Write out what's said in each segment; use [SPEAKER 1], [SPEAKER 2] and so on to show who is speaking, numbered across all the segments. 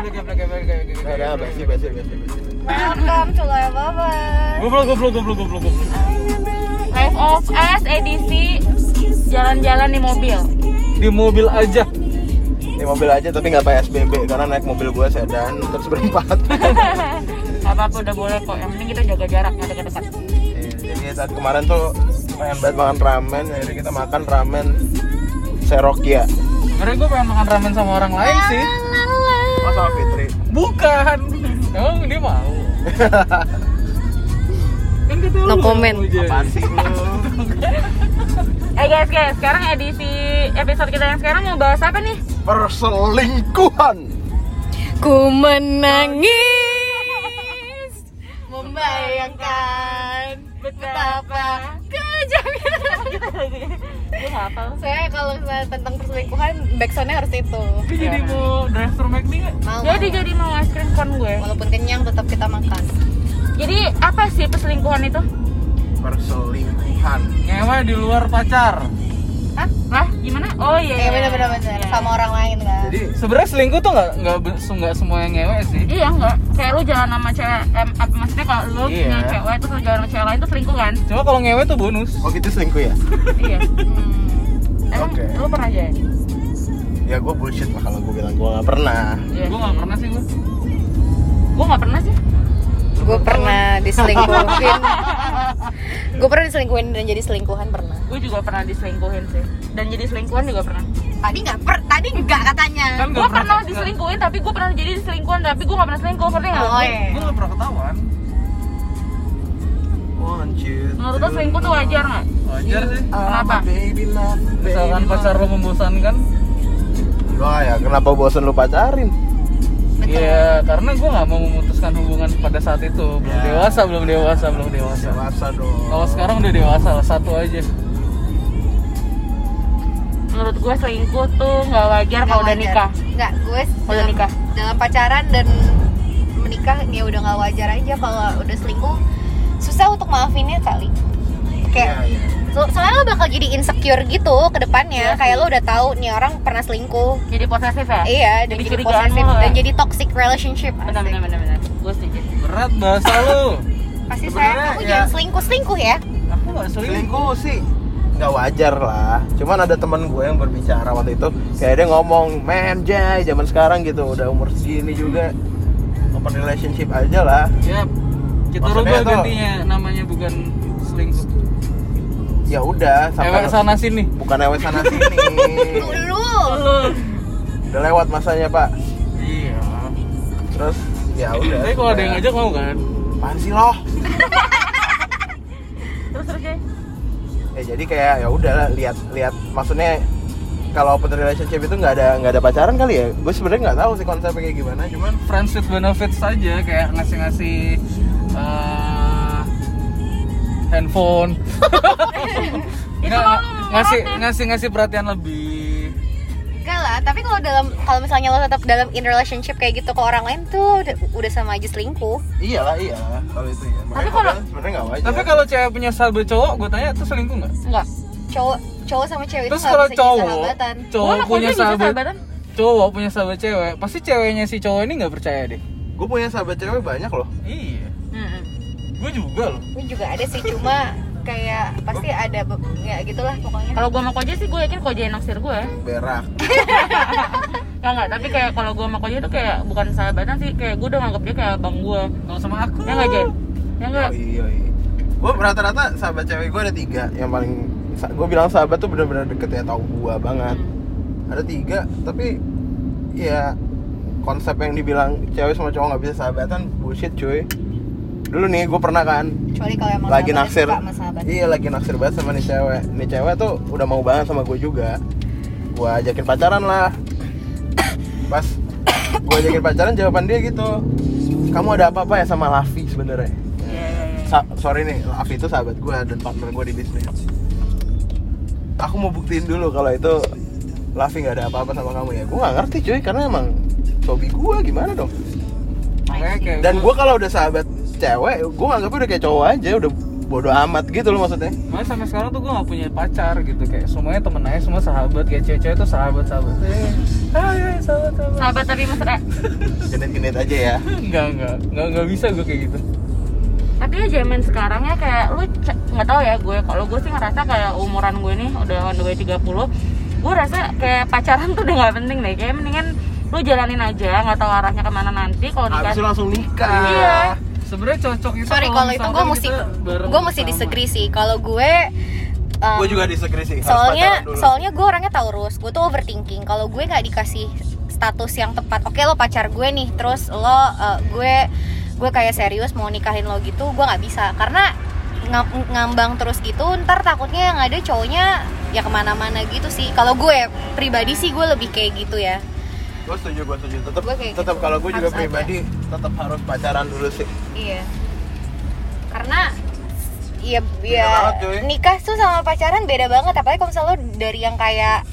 [SPEAKER 1] Udah, basi, basi, basi, basi.
[SPEAKER 2] Welcome to Loyal
[SPEAKER 3] ya,
[SPEAKER 2] Lovers
[SPEAKER 4] Goblok, goblok, goblok, goblok, goblok.
[SPEAKER 2] Life of Us edisi Jalan-jalan di mobil
[SPEAKER 4] Di mobil aja.
[SPEAKER 1] Di mobil aja tapi nggak pakai SBB karena naik mobil gue sedan terus berempat.
[SPEAKER 2] Gak apa-apa udah boleh kok Yang penting kita jaga jarak, gak dekat-dekat
[SPEAKER 1] Iya, Jadi saat kemarin tuh pengen banget makan ramen, jadi kita makan ramen Serokia.
[SPEAKER 4] Karena gue pengen makan ramen sama orang lain sih.
[SPEAKER 1] Oh sama Fitri.
[SPEAKER 4] Bukan. Emang dia mau. kan kata lu
[SPEAKER 3] No
[SPEAKER 4] nggak
[SPEAKER 3] comment.
[SPEAKER 4] mau jadi.
[SPEAKER 1] Apaan sih lu?
[SPEAKER 2] Eh guys guys, sekarang edisi episode kita yang sekarang mau bahas apa nih?
[SPEAKER 1] Perselingkuhan.
[SPEAKER 3] Ku menangis Membayangkan Betapa kejamnya
[SPEAKER 2] Gue hafal
[SPEAKER 3] Saya kalau misalnya tentang perselingkuhan Backsoundnya harus itu
[SPEAKER 4] Dia jadi mau drive thru McD nggak?
[SPEAKER 3] Mau,
[SPEAKER 2] Jadi
[SPEAKER 3] mau.
[SPEAKER 2] jadi mau ice cream cone gue
[SPEAKER 3] Walaupun kenyang tetap kita makan
[SPEAKER 2] Jadi apa sih perselingkuhan itu?
[SPEAKER 1] Perselingkuhan.
[SPEAKER 4] Ngewe di luar pacar.
[SPEAKER 3] Hah?
[SPEAKER 2] Lah gimana? Oh iya
[SPEAKER 3] Iya bener-bener bener. Sama orang lain kan
[SPEAKER 1] Jadi
[SPEAKER 4] Sebenarnya selingkuh tuh nggak nggak be- nggak semua yang ngewe sih.
[SPEAKER 2] Iya enggak, kayak lu jalan sama cewek, em, apa- maksudnya kalau lu
[SPEAKER 4] Iya.
[SPEAKER 2] punya cewek terus lu jalan sama cewek lain itu selingkuh kan?
[SPEAKER 4] Cuma kalau ngewe tuh bonus.
[SPEAKER 1] Oh gitu selingkuh ya?
[SPEAKER 2] iya.
[SPEAKER 3] Hmm.
[SPEAKER 2] Emang
[SPEAKER 1] Oke.
[SPEAKER 2] lu pernah aja?
[SPEAKER 1] Ya gue bullshit lah kalau gue bilang gue nggak pernah.
[SPEAKER 2] Iya.
[SPEAKER 4] Gue nggak pernah sih gue.
[SPEAKER 2] Gue nggak pernah sih.
[SPEAKER 3] Gue pernah diselingkuhin Gue pernah diselingkuhin dan jadi selingkuhan pernah
[SPEAKER 2] Gue juga pernah diselingkuhin sih. Dan jadi selingkuhan juga pernah.
[SPEAKER 3] Tadi nggak per, tadi nggak katanya
[SPEAKER 4] Kan nggak
[SPEAKER 2] Gue pernah
[SPEAKER 4] nggak-
[SPEAKER 2] diselingkuhin tapi gue pernah jadi selingkuhan tapi gue nggak pernah selingkuh, ngerti nggak?
[SPEAKER 3] Oh iya
[SPEAKER 4] Gue nggak pernah ketahuan.
[SPEAKER 1] One, two,
[SPEAKER 2] Menurut lo
[SPEAKER 1] three.
[SPEAKER 2] selingkuh tuh wajar nggak?
[SPEAKER 4] Oh, Wajar sih.
[SPEAKER 3] Iya.
[SPEAKER 2] Kenapa?
[SPEAKER 1] Baby love, baby
[SPEAKER 4] Misalkan
[SPEAKER 1] love.
[SPEAKER 4] pacar lo membosankan,
[SPEAKER 1] Wah ya kenapa bosen lu pacarin?
[SPEAKER 4] Iya, karena gue nggak mau memutuskan hubungan pada saat itu. Belum
[SPEAKER 1] Ya.
[SPEAKER 4] dewasa, belum dewasa, belum dewasa.
[SPEAKER 1] Dewasa dong.
[SPEAKER 4] Kalau sekarang udah dewasa, lah, satu aja.
[SPEAKER 2] Menurut gue selingkuh tuh nggak wajar
[SPEAKER 3] Nggak
[SPEAKER 2] kalau udah
[SPEAKER 3] wajar.
[SPEAKER 2] nikah.
[SPEAKER 3] Nggak, gue
[SPEAKER 2] Udah
[SPEAKER 3] dalam-
[SPEAKER 2] nikah.
[SPEAKER 3] dalam pacaran dan menikah ya udah nggak wajar aja kalau udah selingkuh susah untuk maafinnya kali kayak
[SPEAKER 1] Iya, iya.
[SPEAKER 3] so- soalnya lo bakal jadi insecure gitu ke
[SPEAKER 2] Iya
[SPEAKER 3] depannya kayak
[SPEAKER 2] sih.
[SPEAKER 3] lo udah tahu nih orang pernah selingkuh
[SPEAKER 2] Jadi posesif ya?
[SPEAKER 3] iya dan
[SPEAKER 2] Jadi
[SPEAKER 3] jadi
[SPEAKER 2] curigaan
[SPEAKER 3] posesif
[SPEAKER 2] mulu ya?
[SPEAKER 3] dan jadi toxic relationship
[SPEAKER 2] Benar,
[SPEAKER 3] asik.
[SPEAKER 2] benar, benar, benar. Gue setuju.
[SPEAKER 4] Berat bahasa lu.
[SPEAKER 1] Sebenarnya
[SPEAKER 3] pasti sayang kamu
[SPEAKER 1] ya- Iya.
[SPEAKER 3] jangan selingkuh selingkuh ya
[SPEAKER 4] Aku nggak selingkuh.
[SPEAKER 1] selingkuh sih nggak wajar lah cuman ada teman gue yang berbicara waktu itu kayak dia ngomong men jay zaman sekarang gitu udah umur segini juga open relationship aja lah
[SPEAKER 4] Ya, kita
[SPEAKER 1] Maksudnya
[SPEAKER 4] rubah
[SPEAKER 1] tuh-
[SPEAKER 4] gantinya namanya bukan selingkuh.
[SPEAKER 1] ya udah
[SPEAKER 4] Cewek
[SPEAKER 1] sampai
[SPEAKER 4] sana sini.
[SPEAKER 1] bukan ewe sana sini
[SPEAKER 3] dulu
[SPEAKER 4] Lu.
[SPEAKER 1] udah lewat masanya pak
[SPEAKER 4] Iya.
[SPEAKER 1] terus ya udah
[SPEAKER 4] Tapi kalau ada yang
[SPEAKER 1] Kayak,
[SPEAKER 4] ngajak mau kan?
[SPEAKER 1] "Apaan sih loh
[SPEAKER 2] Terus terus ya?
[SPEAKER 1] ya jadi kayak ya udah lah, lihat lihat maksudnya kalau open relationship itu nggak ada nggak ada pacaran kali ya gue sebenarnya nggak tahu sih konsepnya kayak gimana cuman
[SPEAKER 4] Friends with benefits aja kayak ngasih-ngasih eh, handphone.
[SPEAKER 2] Itu
[SPEAKER 4] Nggak,
[SPEAKER 2] mau
[SPEAKER 4] ngasih
[SPEAKER 2] ngerotin.
[SPEAKER 4] ngasih ngasih perhatian lebih.
[SPEAKER 3] enggak lah tapi kalau dalam kalau misalnya lo tetap dalam in relationship kayak gitu ke orang lain tuh udah, udah sama aja selingkuh
[SPEAKER 1] iyalah iya kalau itu ya Makanya
[SPEAKER 2] Tapi
[SPEAKER 1] gua
[SPEAKER 2] kalau-
[SPEAKER 1] bilang sebenarnya nggak wajar
[SPEAKER 4] Tapi kalau cewek punya sahabat cowok, gue tanya itu selingkuh nggak?
[SPEAKER 2] Enggak.
[SPEAKER 3] cowok cowok sama cewek
[SPEAKER 4] Terus
[SPEAKER 3] itu nggak
[SPEAKER 4] kalau
[SPEAKER 3] bisa jadi
[SPEAKER 4] cowok,
[SPEAKER 3] sahabatan
[SPEAKER 2] Gua
[SPEAKER 4] cowok
[SPEAKER 2] sama
[SPEAKER 4] punya
[SPEAKER 2] Kobe bisa
[SPEAKER 4] sahabat,
[SPEAKER 2] sahabatan.
[SPEAKER 4] cowok punya sahabat cewek, pasti ceweknya si cowok ini nggak percaya deh.
[SPEAKER 1] gue punya sahabat cewek banyak loh
[SPEAKER 4] Iya,
[SPEAKER 2] Mm-mm.
[SPEAKER 4] gue juga loh.
[SPEAKER 3] Gue juga ada sih cuma kayak pasti ada be- ya gitulah pokoknya.
[SPEAKER 2] Kalau gue sama Koja sih gue yakin Koja yang naksir gue.
[SPEAKER 1] berak
[SPEAKER 2] Enggak, enggak, tapi kayak kalau gue sama Koja itu kayak bukan sahabatan sih, kayak gue udah nganggap dia kayak abang gue.
[SPEAKER 4] Kalau sama aku,
[SPEAKER 2] Ya enggak, Jen? Ya enggak?
[SPEAKER 1] oh, iya iya gue rata-rata sahabat cewek gue ada tiga yang paling gue bilang sahabat tuh bener-bener deket ya tau gue banget ada tiga tapi ya konsep yang dibilang cewek sama cowok nggak bisa sahabatan bullshit cuy dulu nih gue pernah kan
[SPEAKER 3] Kecuali kalau emang
[SPEAKER 1] lagi
[SPEAKER 3] sahabatan
[SPEAKER 1] naksir
[SPEAKER 3] suka sama sahabat.
[SPEAKER 1] iya lagi naksir banget sama nih cewek nih cewek tuh udah mau banget sama gue juga gue ajakin pacaran lah pas gue ajakin pacaran jawaban dia gitu kamu ada apa apa ya sama Lavi sebenarnya
[SPEAKER 2] Iya, iya, iya.
[SPEAKER 1] Sa- sorry nih Lavi itu sahabat gue dan partner gue di bisnis aku mau buktiin dulu kalau itu Lavi nggak ada apa-apa sama kamu ya gue nggak ngerti cuy karena emang hobi gue gimana dong
[SPEAKER 4] Makanya kayak
[SPEAKER 1] dan gue kalau udah sahabat cewek gue anggapnya udah kayak cowok aja udah bodoh amat gitu loh maksudnya
[SPEAKER 4] Makanya sampai sekarang tuh gue gak punya pacar gitu kayak semuanya temen aja semua sahabat kayak cewek-cewek tuh sahabat sahabat.
[SPEAKER 3] Iya.
[SPEAKER 4] Ah ya sahabat sahabat.
[SPEAKER 2] sahabat tapi eh, mesra
[SPEAKER 1] genet-genet aja ya
[SPEAKER 4] Enggak enggak enggak enggak bisa gue kayak gitu.
[SPEAKER 2] tapi ya zaman sekarang ya kayak lu ce- nggak tahu ya gue kalau gue sih ngerasa kayak umuran gue nih udah on the way 30 gue rasa kayak pacaran tuh udah nggak penting deh kayak mendingan lu jalanin aja nggak tahu arahnya kemana nanti kalau
[SPEAKER 1] habis itu
[SPEAKER 2] nikah
[SPEAKER 1] langsung nikah
[SPEAKER 2] Iya.
[SPEAKER 4] Sebenarnya cocok itu.
[SPEAKER 3] sorry kalau itu gue
[SPEAKER 4] misalkan
[SPEAKER 3] mesti
[SPEAKER 4] Iya, kita bareng
[SPEAKER 3] gue mesti
[SPEAKER 4] sama.
[SPEAKER 3] disagree sih kalau gue um,
[SPEAKER 1] gue juga disagree sih harus
[SPEAKER 3] soalnya
[SPEAKER 1] pacaran dulu.
[SPEAKER 3] soalnya gue orangnya Taurus gue tuh overthinking kalau gue nggak dikasih status yang tepat oke lo pacar gue nih terus lo uh, gue gue kayak serius mau nikahin lo gitu gue nggak bisa karena ngam- ngambang terus gitu ntar takutnya yang ada cowoknya ya kemana-mana gitu sih kalau gue pribadi sih gue lebih kayak gitu ya
[SPEAKER 1] gue setuju gue setuju tetap
[SPEAKER 3] Gua kayak
[SPEAKER 1] tetap
[SPEAKER 3] gitu.
[SPEAKER 1] kalau gue juga
[SPEAKER 3] Harus ada.
[SPEAKER 1] pribadi tetap harus pacaran dulu sih
[SPEAKER 3] iya karena Iya,
[SPEAKER 1] banget,
[SPEAKER 3] iya.
[SPEAKER 1] cuy.
[SPEAKER 3] Nikah tuh sama pacaran beda banget. Apalagi kalau misalnya lo dari yang kayak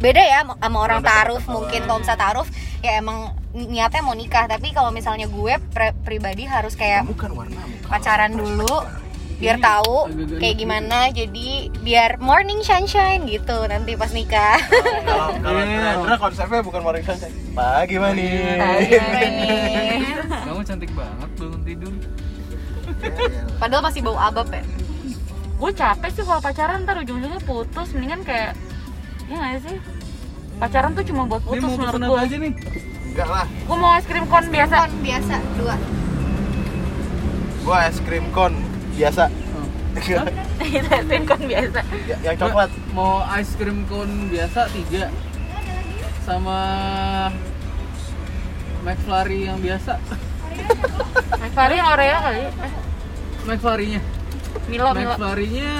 [SPEAKER 3] beda ya sama- sama orang
[SPEAKER 1] Orang dekat-dekat
[SPEAKER 3] taaruf
[SPEAKER 1] doang.
[SPEAKER 3] mungkin kalau misalnya taaruf ya emang ni- niatnya mau nikah tapi kalau misalnya gue pre- pribadi harus kayak
[SPEAKER 1] bukan warnamu
[SPEAKER 3] pacaran dulu biar tahu
[SPEAKER 4] agak-agak
[SPEAKER 3] kayak gimana jadi biar morning sunshine gitu nanti pas nikah
[SPEAKER 1] kalau kalau Rendra konsepnya bukan morning sunshine pagi Iya, manis
[SPEAKER 4] Iya. Kamu cantik banget bangun tidur.
[SPEAKER 3] padahal masih bau abab ya
[SPEAKER 2] gue capek sih kalau pacaran ntar ujung-ujungnya putus mendingan kayak ya nggak sih pacaran tuh cuma buat
[SPEAKER 4] Ini
[SPEAKER 2] putus
[SPEAKER 4] mau
[SPEAKER 2] menurut
[SPEAKER 4] pesen
[SPEAKER 2] gue
[SPEAKER 4] apa aja nih?
[SPEAKER 1] enggak lah
[SPEAKER 2] gue mau es krim kon biasa
[SPEAKER 3] Kon biasa dua
[SPEAKER 1] gue es krim cone biasa
[SPEAKER 4] Oh.
[SPEAKER 2] es krim kon biasa
[SPEAKER 1] Ya, yang coklat
[SPEAKER 4] Mau ice cream cone biasa tiga sama McFlurry yang biasa
[SPEAKER 2] McFlurry yang Oreo kali Eh,
[SPEAKER 4] McFlurry-nya
[SPEAKER 2] Milo Milo
[SPEAKER 4] McFlurry-nya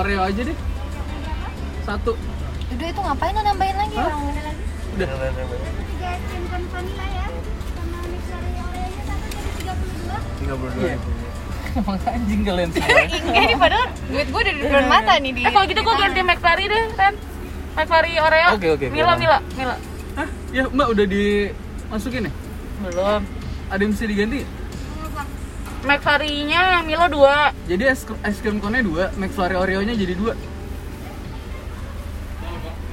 [SPEAKER 4] Oreo aja deh satu
[SPEAKER 3] udah itu ngapain lo nambahin lagi
[SPEAKER 4] Hah?
[SPEAKER 3] orang
[SPEAKER 4] udah
[SPEAKER 1] tiga puluh dua
[SPEAKER 4] emang anjing kalian ya?
[SPEAKER 3] Enggak Eh, ini padahal duit gue udah di depan mata nih di
[SPEAKER 2] eh kalau gitu gue ganti McFlurry deh Ren McFlurry Oreo
[SPEAKER 4] Oke, oke,
[SPEAKER 2] Milo
[SPEAKER 4] oke.
[SPEAKER 2] Milo Milo
[SPEAKER 4] Hah? ya mbak udah dimasukin ya
[SPEAKER 2] belum
[SPEAKER 4] ada yang bisa diganti
[SPEAKER 2] McFlurry-nya yang Milo dua
[SPEAKER 4] jadi es, es krim cone nya dua McFlurry Oreo nya jadi dua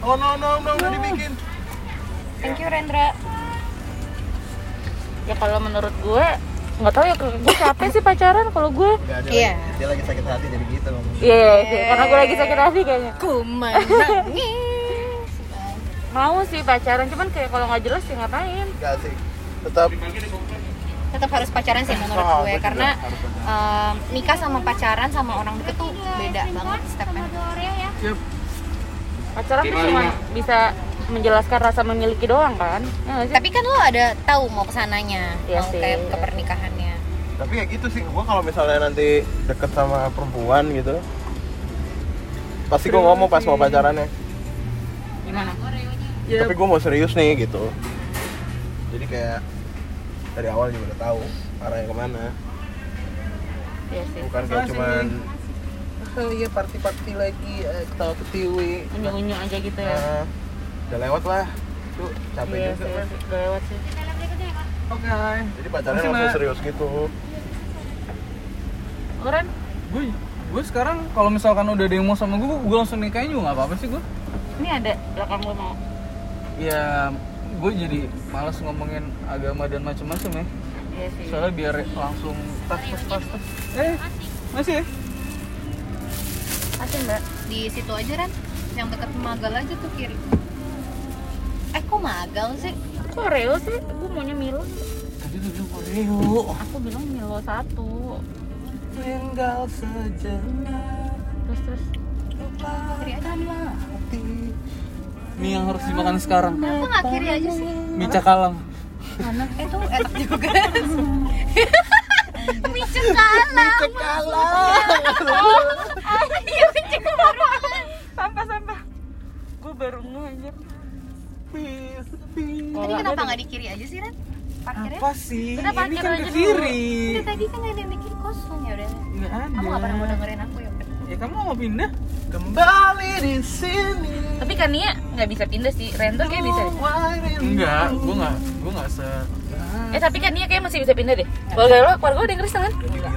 [SPEAKER 1] oh no no no udah dibikin
[SPEAKER 3] thank you Rendra
[SPEAKER 2] ya kalau menurut gue nggak tahu ya gue capek sih pacaran kalau gue
[SPEAKER 1] Enggak, dia,
[SPEAKER 3] Iya.
[SPEAKER 1] lagi, dia lagi sakit hati jadi gitu ngomong.
[SPEAKER 2] iya iya, iya. karena gue lagi sakit hati kayaknya
[SPEAKER 3] ku menangis
[SPEAKER 2] mau sih pacaran cuman kayak kalau nggak jelas sih ngapain
[SPEAKER 1] Enggak sih. Tetap
[SPEAKER 3] tetap harus pacaran sih menurut
[SPEAKER 1] Ah,
[SPEAKER 3] gue
[SPEAKER 1] gua juga
[SPEAKER 3] karena
[SPEAKER 1] harus
[SPEAKER 3] em, nikah sama pacaran sama orang deket tuh beda banget stepnya
[SPEAKER 4] Yap.
[SPEAKER 2] pacaran tuh cuma bisa menjelaskan rasa memiliki doang kan ya nggak sih
[SPEAKER 3] tapi kan lo ada tahu mau kesananya
[SPEAKER 2] Iya
[SPEAKER 3] mau
[SPEAKER 2] sih.
[SPEAKER 3] kayak ke pernikahannya
[SPEAKER 1] tapi ya gitu sih gua kalau misalnya nanti deket sama perempuan gitu pasti gua ngomong pas mau pacarannya
[SPEAKER 2] gimana
[SPEAKER 4] ya
[SPEAKER 1] tapi gua mau serius nih gitu jadi kayak dari awal juga udah tahu arahnya kemana
[SPEAKER 2] iya sih
[SPEAKER 1] bukan kayak
[SPEAKER 4] Masih.
[SPEAKER 1] cuman oh iya party-party lagi eh, ketawa ketiwi
[SPEAKER 2] unyu-unyu aja gitu ya
[SPEAKER 4] Eh,
[SPEAKER 1] Ah, udah lewat lah tuh capek
[SPEAKER 2] iya
[SPEAKER 1] juga
[SPEAKER 2] sih udah lewat sih
[SPEAKER 4] oke
[SPEAKER 1] jadi pacaran
[SPEAKER 4] Masih,
[SPEAKER 1] langsung
[SPEAKER 4] Mbak.
[SPEAKER 1] serius gitu
[SPEAKER 2] Lu, Ren
[SPEAKER 4] gue gue sekarang kalau misalkan udah demo sama gue gue langsung nikahin juga nggak apa apa sih gue
[SPEAKER 2] ini ada belakang lu mau
[SPEAKER 4] ya gue jadi malas ngomongin agama dan macam-macam ya
[SPEAKER 2] iya sih
[SPEAKER 4] soalnya biar langsung tas tas tas tas eh masih ya?
[SPEAKER 2] Asli mbak
[SPEAKER 3] di situ aja Ren yang deket magal aja tuh kiri eh kok magal sih
[SPEAKER 2] Kok Oreo sih? Gue maunya Milo
[SPEAKER 4] tadi lu bilang Oreo
[SPEAKER 2] Aku bilang Milo satu
[SPEAKER 4] tinggal sejenak
[SPEAKER 2] Terus terus
[SPEAKER 3] kiri aja
[SPEAKER 4] mie yang harus dimakan sekarang
[SPEAKER 3] aku nggak kiri aja sih
[SPEAKER 4] mie cakalang
[SPEAKER 2] Mana?
[SPEAKER 3] eh tuh enak juga micet kalah iya micet kalah
[SPEAKER 2] Sampah sampah Gue baru nge anjir
[SPEAKER 3] Tadi kenapa nggak di kiri aja sih, Ren? Parkirnya?
[SPEAKER 4] apa sih
[SPEAKER 2] Udah,
[SPEAKER 4] ini
[SPEAKER 2] parkir
[SPEAKER 4] kan
[SPEAKER 2] aja
[SPEAKER 4] ke
[SPEAKER 2] dulu.
[SPEAKER 4] kiri
[SPEAKER 3] Udah tadi kan ada yang di kiri kosong ya udah.
[SPEAKER 4] nggak
[SPEAKER 3] Kamu nggak pernah mau
[SPEAKER 4] ada
[SPEAKER 3] dengerin aku ya? udah.
[SPEAKER 4] ya kamu mau pindah
[SPEAKER 1] Kembali di sini.
[SPEAKER 2] Tapi kan Nia nggak bisa pindah sih, Renter kayak Iya, bisa. deh.
[SPEAKER 4] enggak gue nggak gue nggak se
[SPEAKER 2] Eh tapi kan Nia kayak masih bisa pindah deh. Keluarga lo, keluarga lo ada yang Kristen kan?
[SPEAKER 1] Dibilang.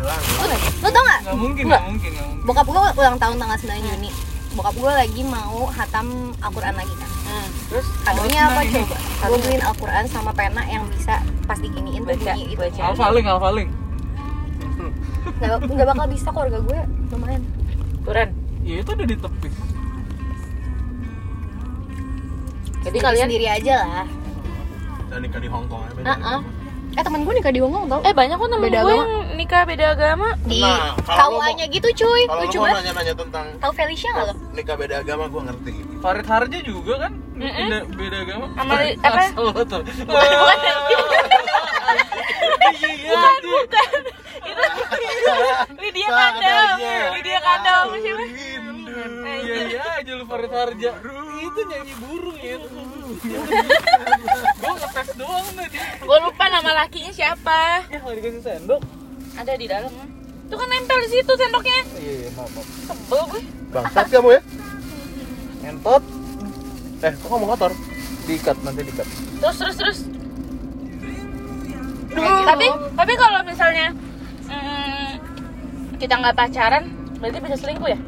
[SPEAKER 3] Lo tau gak?
[SPEAKER 4] nggak mungkin
[SPEAKER 3] Nggak.
[SPEAKER 4] nggak mungkin nggak mungkin
[SPEAKER 3] Bokap gue ulang tahun tanggal 9 Juni Bokap gue lagi mau hatam Al-Quran lagi kan
[SPEAKER 4] terus
[SPEAKER 3] Kadonya apa
[SPEAKER 4] Nah, ini.
[SPEAKER 3] coba? Gue beliin Al-Quran sama pena yang bisa pas diginiin tuh
[SPEAKER 2] Baca,
[SPEAKER 3] bunyi itu
[SPEAKER 2] baca.
[SPEAKER 4] alfaling alfaling
[SPEAKER 3] nggak, nggak bakal bisa keluarga gue lumayan
[SPEAKER 2] Quran.
[SPEAKER 4] ya itu udah di tepi
[SPEAKER 2] Jadi kalian
[SPEAKER 3] sendiri aja lah
[SPEAKER 1] Dan nikah di Hong Kong aja. beda.
[SPEAKER 2] Uh-uh.
[SPEAKER 3] Heeh. Eh temen gue nikah di Hongkong tau
[SPEAKER 2] Eh banyak kok temen
[SPEAKER 3] Beda
[SPEAKER 2] gue
[SPEAKER 3] agama.
[SPEAKER 2] yang nikah beda agama
[SPEAKER 3] Di
[SPEAKER 1] Nah, kalau lo
[SPEAKER 3] KUA nya gitu cuy
[SPEAKER 1] Kalau lu
[SPEAKER 3] Lucu
[SPEAKER 1] mau
[SPEAKER 3] banget
[SPEAKER 1] nanya-nanya tentang
[SPEAKER 3] Tau Felicia gak lo?
[SPEAKER 1] nikah beda agama, gue ngerti.
[SPEAKER 4] Farid Harja juga kan beda beda agama oh,
[SPEAKER 2] Sama li- apa?
[SPEAKER 4] Bukan, bukan. Iya, iya.
[SPEAKER 2] Lydia Kandang Lydia Kandang
[SPEAKER 1] Aku
[SPEAKER 2] siapa?
[SPEAKER 1] rindu.
[SPEAKER 2] Eh,
[SPEAKER 4] Iya, iya aja lu Farid Harja. Itu nyanyi burung ya. Gue ngetes doang tadi.
[SPEAKER 2] Gue lupa nama lakinya siapa
[SPEAKER 4] Ya, nggak dikasih sendok.
[SPEAKER 2] Ada di dalam Itu kan nempel di situ sendoknya
[SPEAKER 4] Iya, iya, maaf. maaf.
[SPEAKER 2] Sebel gue
[SPEAKER 1] Bangsat kamu ya?
[SPEAKER 4] Entot
[SPEAKER 1] Eh, kok kamu kotor?
[SPEAKER 4] diikat nanti diikat.
[SPEAKER 2] Terus terus terus Tapi tapi kalau misalnya mm, Kita nggak pacaran Berarti bisa selingkuh ya?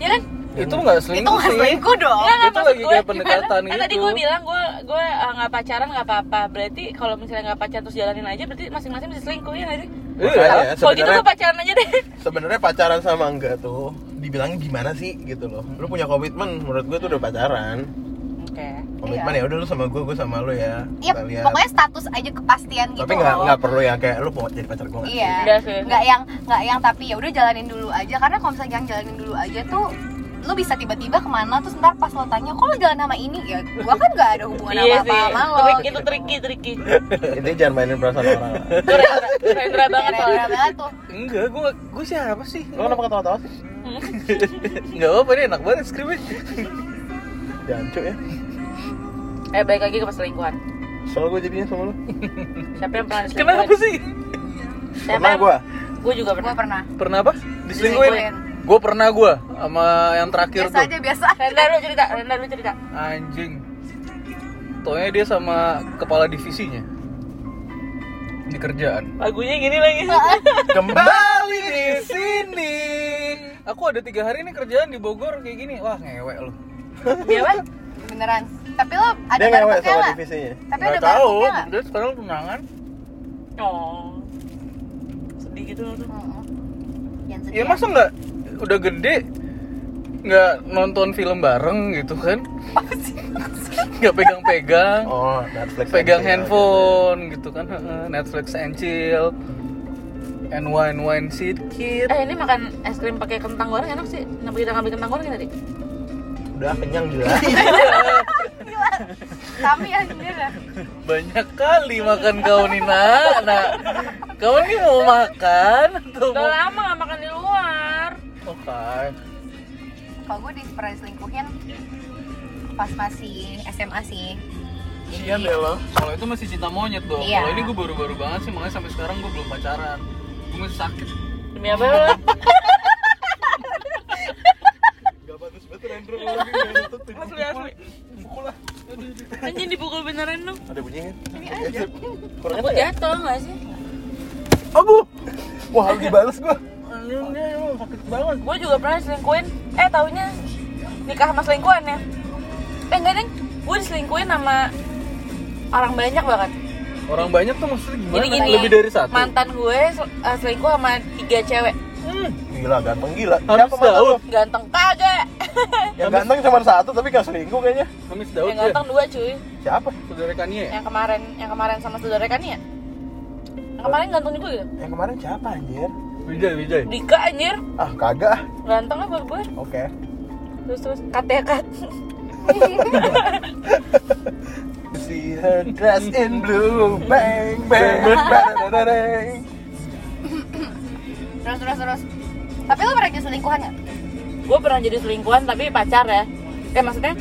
[SPEAKER 2] Iya kan?
[SPEAKER 4] Itu nggak
[SPEAKER 3] Itu
[SPEAKER 4] selingkuh
[SPEAKER 3] gak
[SPEAKER 4] sih.
[SPEAKER 3] selingkuh dong
[SPEAKER 2] Nggak, nggak,
[SPEAKER 4] Ah, itu
[SPEAKER 2] maksud
[SPEAKER 4] lagi kayak
[SPEAKER 2] gimana?
[SPEAKER 4] pendekatan
[SPEAKER 2] kan tadi
[SPEAKER 4] gitu.
[SPEAKER 2] gue bilang gue gue eh, nggak pacaran nggak apa-apa berarti kalau misalnya nggak pacaran terus jalanin aja berarti masing-masing bisa selingkuh ya nggak sih
[SPEAKER 1] Makanya
[SPEAKER 4] Iya.
[SPEAKER 1] ya,
[SPEAKER 2] kalau gitu
[SPEAKER 1] sebenarnya-
[SPEAKER 2] gue pacaran aja deh
[SPEAKER 1] Sebenarnya pacaran sama enggak tuh dibilangnya gimana sih gitu loh. Lu punya komitmen, menurut gue tuh udah pacaran.
[SPEAKER 2] oke
[SPEAKER 1] Komitmen ya udah lu sama gue, gue sama lu ya.
[SPEAKER 3] Ya
[SPEAKER 1] Kita lihat.
[SPEAKER 3] pokoknya status aja kepastian gitu
[SPEAKER 1] Tapi nggak
[SPEAKER 3] loh.
[SPEAKER 1] nggak perlu yang kayak lu mau jadi pacar gue.
[SPEAKER 3] Iya.
[SPEAKER 2] Udah sih.
[SPEAKER 3] Nggak yang nggak yang tapi ya udah jalanin dulu aja karena kalau misalnya yang jalanin dulu aja tuh lu bisa tiba-tiba kemana terus ntar pas lo tanya kok lo jalan sama ini ya gua kan nggak ada hubungan
[SPEAKER 2] iya
[SPEAKER 3] apa-apa
[SPEAKER 2] sih
[SPEAKER 3] sama lo
[SPEAKER 2] Trik-
[SPEAKER 3] gitu.
[SPEAKER 2] itu tricky tricky
[SPEAKER 1] Intinya jangan mainin perasaan orang. lah.
[SPEAKER 2] Itu Rendra Rendra banget
[SPEAKER 3] Keren-keren
[SPEAKER 2] soalnya
[SPEAKER 3] banget tuh
[SPEAKER 4] Enggak, gue gue siapa sih?
[SPEAKER 1] Lu kenapa ketawa-tawa sih?
[SPEAKER 4] Enggak apa-apa ini enak banget skripnya.
[SPEAKER 1] Jancu ya.
[SPEAKER 2] eh balik lagi ke perselingkuhan
[SPEAKER 1] Soal gue jadinya sama lu.
[SPEAKER 2] siapa yang pernah diselingkuhin
[SPEAKER 4] Kenapa sih?
[SPEAKER 2] siapa
[SPEAKER 1] Pernah gue.
[SPEAKER 2] gue juga
[SPEAKER 3] gua
[SPEAKER 2] pernah
[SPEAKER 3] pernah
[SPEAKER 4] Pernah apa?
[SPEAKER 3] Diselingkuhin.
[SPEAKER 4] Diselingkuhin. Gue pernah gue sama yang terakhir
[SPEAKER 3] biasa
[SPEAKER 4] tuh.
[SPEAKER 3] aja biasa
[SPEAKER 2] Rendra lu cerita Rendra lu cerita
[SPEAKER 4] Anjing. Taunya dia sama kepala divisinya di kerjaan.
[SPEAKER 2] lagunya gini lagi
[SPEAKER 1] Kembali di sini.
[SPEAKER 4] Aku ada tiga hari nih kerjaan di Bogor kayak gini. Wah ngewek loh.
[SPEAKER 2] dia apa
[SPEAKER 3] beneran tapi lo ada
[SPEAKER 1] Dia ngewek
[SPEAKER 3] barcode-nya
[SPEAKER 1] sama
[SPEAKER 3] nggak
[SPEAKER 1] divisinya.
[SPEAKER 3] tapi ada
[SPEAKER 4] Nggak tahu.
[SPEAKER 3] barcode-nya nggak
[SPEAKER 4] Dia sekarang tunangan. Iya,
[SPEAKER 2] oh sedih gitu loh tuh.
[SPEAKER 3] Mm-mm. Jangan sedih
[SPEAKER 4] Ya masa nggak udah gede nggak nonton film bareng gitu kan? Nggak pegang-pegang.
[SPEAKER 1] Oh, Netflix.
[SPEAKER 4] pegang
[SPEAKER 1] Netflix.
[SPEAKER 4] handphone gitu kan heeh, Netflix and chill and wine wine sit kid
[SPEAKER 2] eh ini makan es krim pakai kentang goreng enak sih kenapa kita ngambil kentang goreng ya tadi
[SPEAKER 1] Udah kenyang gila.
[SPEAKER 3] tapi ya sendiri
[SPEAKER 4] banyak kali makan kau Nina nah kau ini mau makan atau mau
[SPEAKER 2] Udah
[SPEAKER 4] Oh, kan.
[SPEAKER 2] lama gak makan di luar
[SPEAKER 4] oke
[SPEAKER 3] kalau gue pernah diselingkuhin pas masih SMA sih
[SPEAKER 1] Sian deh lo.
[SPEAKER 4] kalau itu masih cinta monyet dong
[SPEAKER 3] Iya.
[SPEAKER 4] kalau ini gue baru-baru banget sih makanya sampai sekarang gue belum pacaran gue masih sakit
[SPEAKER 2] Demi apa ya, lo?
[SPEAKER 1] Gak bagus banget Rendro lu lagi nggak nutup tuh.
[SPEAKER 4] asli asli
[SPEAKER 1] Pukul lah.
[SPEAKER 2] Anjing dipukul beneran dong
[SPEAKER 1] Ada bunyinya. Iya,
[SPEAKER 3] ini aja
[SPEAKER 1] Kurang
[SPEAKER 2] Aku
[SPEAKER 1] apa ya?
[SPEAKER 2] jatuh gak sih?
[SPEAKER 1] Abu. Wah, harus dibales gua.
[SPEAKER 4] anjingnya emang sakit banget
[SPEAKER 2] Gue juga pernah diselingkuin Eh taunya nikah sama selingkuhan ya Eh enggak deng Gue diselingkuin sama orang banyak banget
[SPEAKER 4] orang banyak tuh maksudnya gimana
[SPEAKER 2] Gini-gini
[SPEAKER 4] lebih dari satu
[SPEAKER 2] Mantan gue sel- eh, selingkuh sama tiga cewek
[SPEAKER 4] Hmm,
[SPEAKER 1] Gila, ganteng gila.
[SPEAKER 4] Harus
[SPEAKER 1] Siapa mantan
[SPEAKER 4] Daud.
[SPEAKER 1] lu?
[SPEAKER 2] Ganteng kagak
[SPEAKER 1] Yang ganteng cuma satu tapi gak selingkuh kayaknya.
[SPEAKER 4] Ngemis
[SPEAKER 2] Yang
[SPEAKER 4] Daud ya
[SPEAKER 2] ganteng dua cuy
[SPEAKER 1] Siapa?
[SPEAKER 4] saudara Kanye ya?
[SPEAKER 2] Yang kemarin yang kemarin sama saudara kan ya Yang kemarin ganteng juga gitu
[SPEAKER 1] Yang kemarin siapa anjir?
[SPEAKER 4] Wijay Wijay
[SPEAKER 2] Dika anjir
[SPEAKER 1] Ah, kagak. ah.
[SPEAKER 2] Ganteng lah buat gue
[SPEAKER 1] Oke.
[SPEAKER 2] Terus terus kat ya kat
[SPEAKER 1] See her dressed in blue, bang bang bang bang, bang, bang.
[SPEAKER 3] terus terus terus tapi lo pernah diselingkuhan nggak
[SPEAKER 4] Eh,
[SPEAKER 2] gue pernah jadi selingkuhan tapi pacar ya eh maksudnya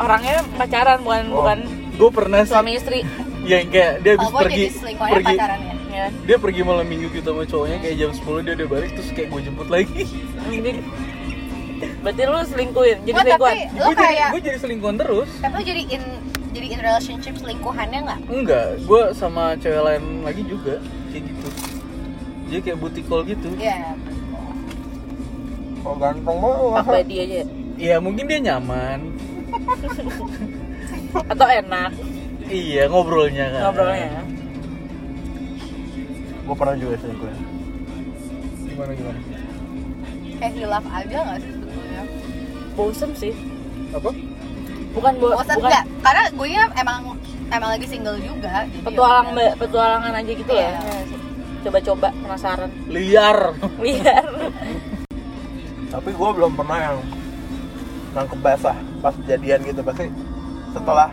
[SPEAKER 2] orangnya pacaran bukan
[SPEAKER 1] Oh.
[SPEAKER 2] bukan
[SPEAKER 4] gue pernah sih
[SPEAKER 2] suami istri
[SPEAKER 4] Iya, yang kayak dia habis
[SPEAKER 3] kalau gue
[SPEAKER 4] pergi
[SPEAKER 3] jadi selingkuhannya
[SPEAKER 4] pergi
[SPEAKER 3] pacaran ya
[SPEAKER 2] ya
[SPEAKER 4] dia pergi malam minggu gitu sama cowoknya kayak jam 10 dia udah balik terus kayak gue jemput lagi
[SPEAKER 2] Anjing. berarti lu selingkuhin jadi
[SPEAKER 3] Wah,
[SPEAKER 2] selingkuhan
[SPEAKER 3] tapi
[SPEAKER 4] gue jadi
[SPEAKER 3] lo kayak
[SPEAKER 4] gue jadi selingkuhan terus
[SPEAKER 3] tapi lo jadi in jadi in relationship selingkuhannya nggak
[SPEAKER 4] enggak gue sama cewek lain lagi juga kayak gitu dia kayak booty call gitu
[SPEAKER 3] Iya.
[SPEAKER 1] Kok Oh, ganteng banget.
[SPEAKER 2] apa dia aja
[SPEAKER 4] Iya mungkin dia nyaman
[SPEAKER 2] atau enak
[SPEAKER 4] iya ngobrolnya kan
[SPEAKER 2] ngobrolnya ya?
[SPEAKER 1] Gue pernah juga selingkuh. ya.
[SPEAKER 4] gimana gimana
[SPEAKER 3] kayak hilaf aja nggak sih sebetulnya
[SPEAKER 2] bosen sih
[SPEAKER 4] apa
[SPEAKER 2] bukan bo
[SPEAKER 3] bosan
[SPEAKER 2] bukan
[SPEAKER 3] nggak karena gue nya emang emang lagi single juga jadi
[SPEAKER 2] petualang
[SPEAKER 3] ya udah.
[SPEAKER 2] petualangan aja gitu
[SPEAKER 3] Iya.
[SPEAKER 2] ya coba-coba penasaran
[SPEAKER 4] liar
[SPEAKER 2] biar
[SPEAKER 1] Tapi gue belum pernah yang nangkep basah pas jadian gitu pasti setelah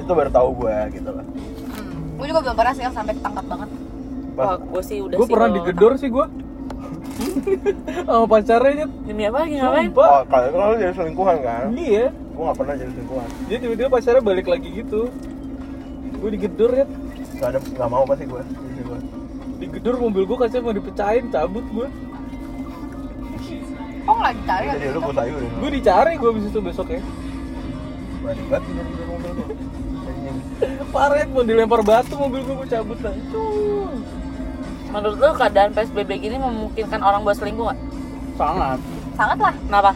[SPEAKER 1] itu baru tahu gue gitu loh.
[SPEAKER 3] Hmm. gue juga belum pernah sih yang sampai ketangkap banget
[SPEAKER 1] Pas
[SPEAKER 2] wah gue sih udah
[SPEAKER 4] gue
[SPEAKER 2] sih
[SPEAKER 4] pernah
[SPEAKER 2] kalau-
[SPEAKER 4] digedor sih gue sama pacarnya Nyet.
[SPEAKER 2] demi apa lagi
[SPEAKER 1] Oh,
[SPEAKER 2] ngapain
[SPEAKER 4] Sumpah.
[SPEAKER 1] kalau kalau lu jadi selingkuhan kan?
[SPEAKER 4] iya
[SPEAKER 1] Gue gak pernah jadi selingkuhan.
[SPEAKER 4] dia tiba-tiba pacarnya balik lagi gitu gue digedor ya
[SPEAKER 1] Gak ada, gak mau pasti gue.
[SPEAKER 4] digedor mobil gue kacanya mau dipecahin cabut gue
[SPEAKER 3] oh nggak dicari
[SPEAKER 1] Jadi lu gue sayurin.
[SPEAKER 4] gue dicari gue abis itu ya. besoknya
[SPEAKER 1] Berani banget tidur di mobil gue. Anjing.
[SPEAKER 4] Paret mau dilempar batu mobil gue gue cabut lah Tuh.
[SPEAKER 2] menurut lu keadaan psbb gini memungkinkan orang buat selingkuh nggak
[SPEAKER 4] sangat
[SPEAKER 3] sangat lah
[SPEAKER 2] kenapa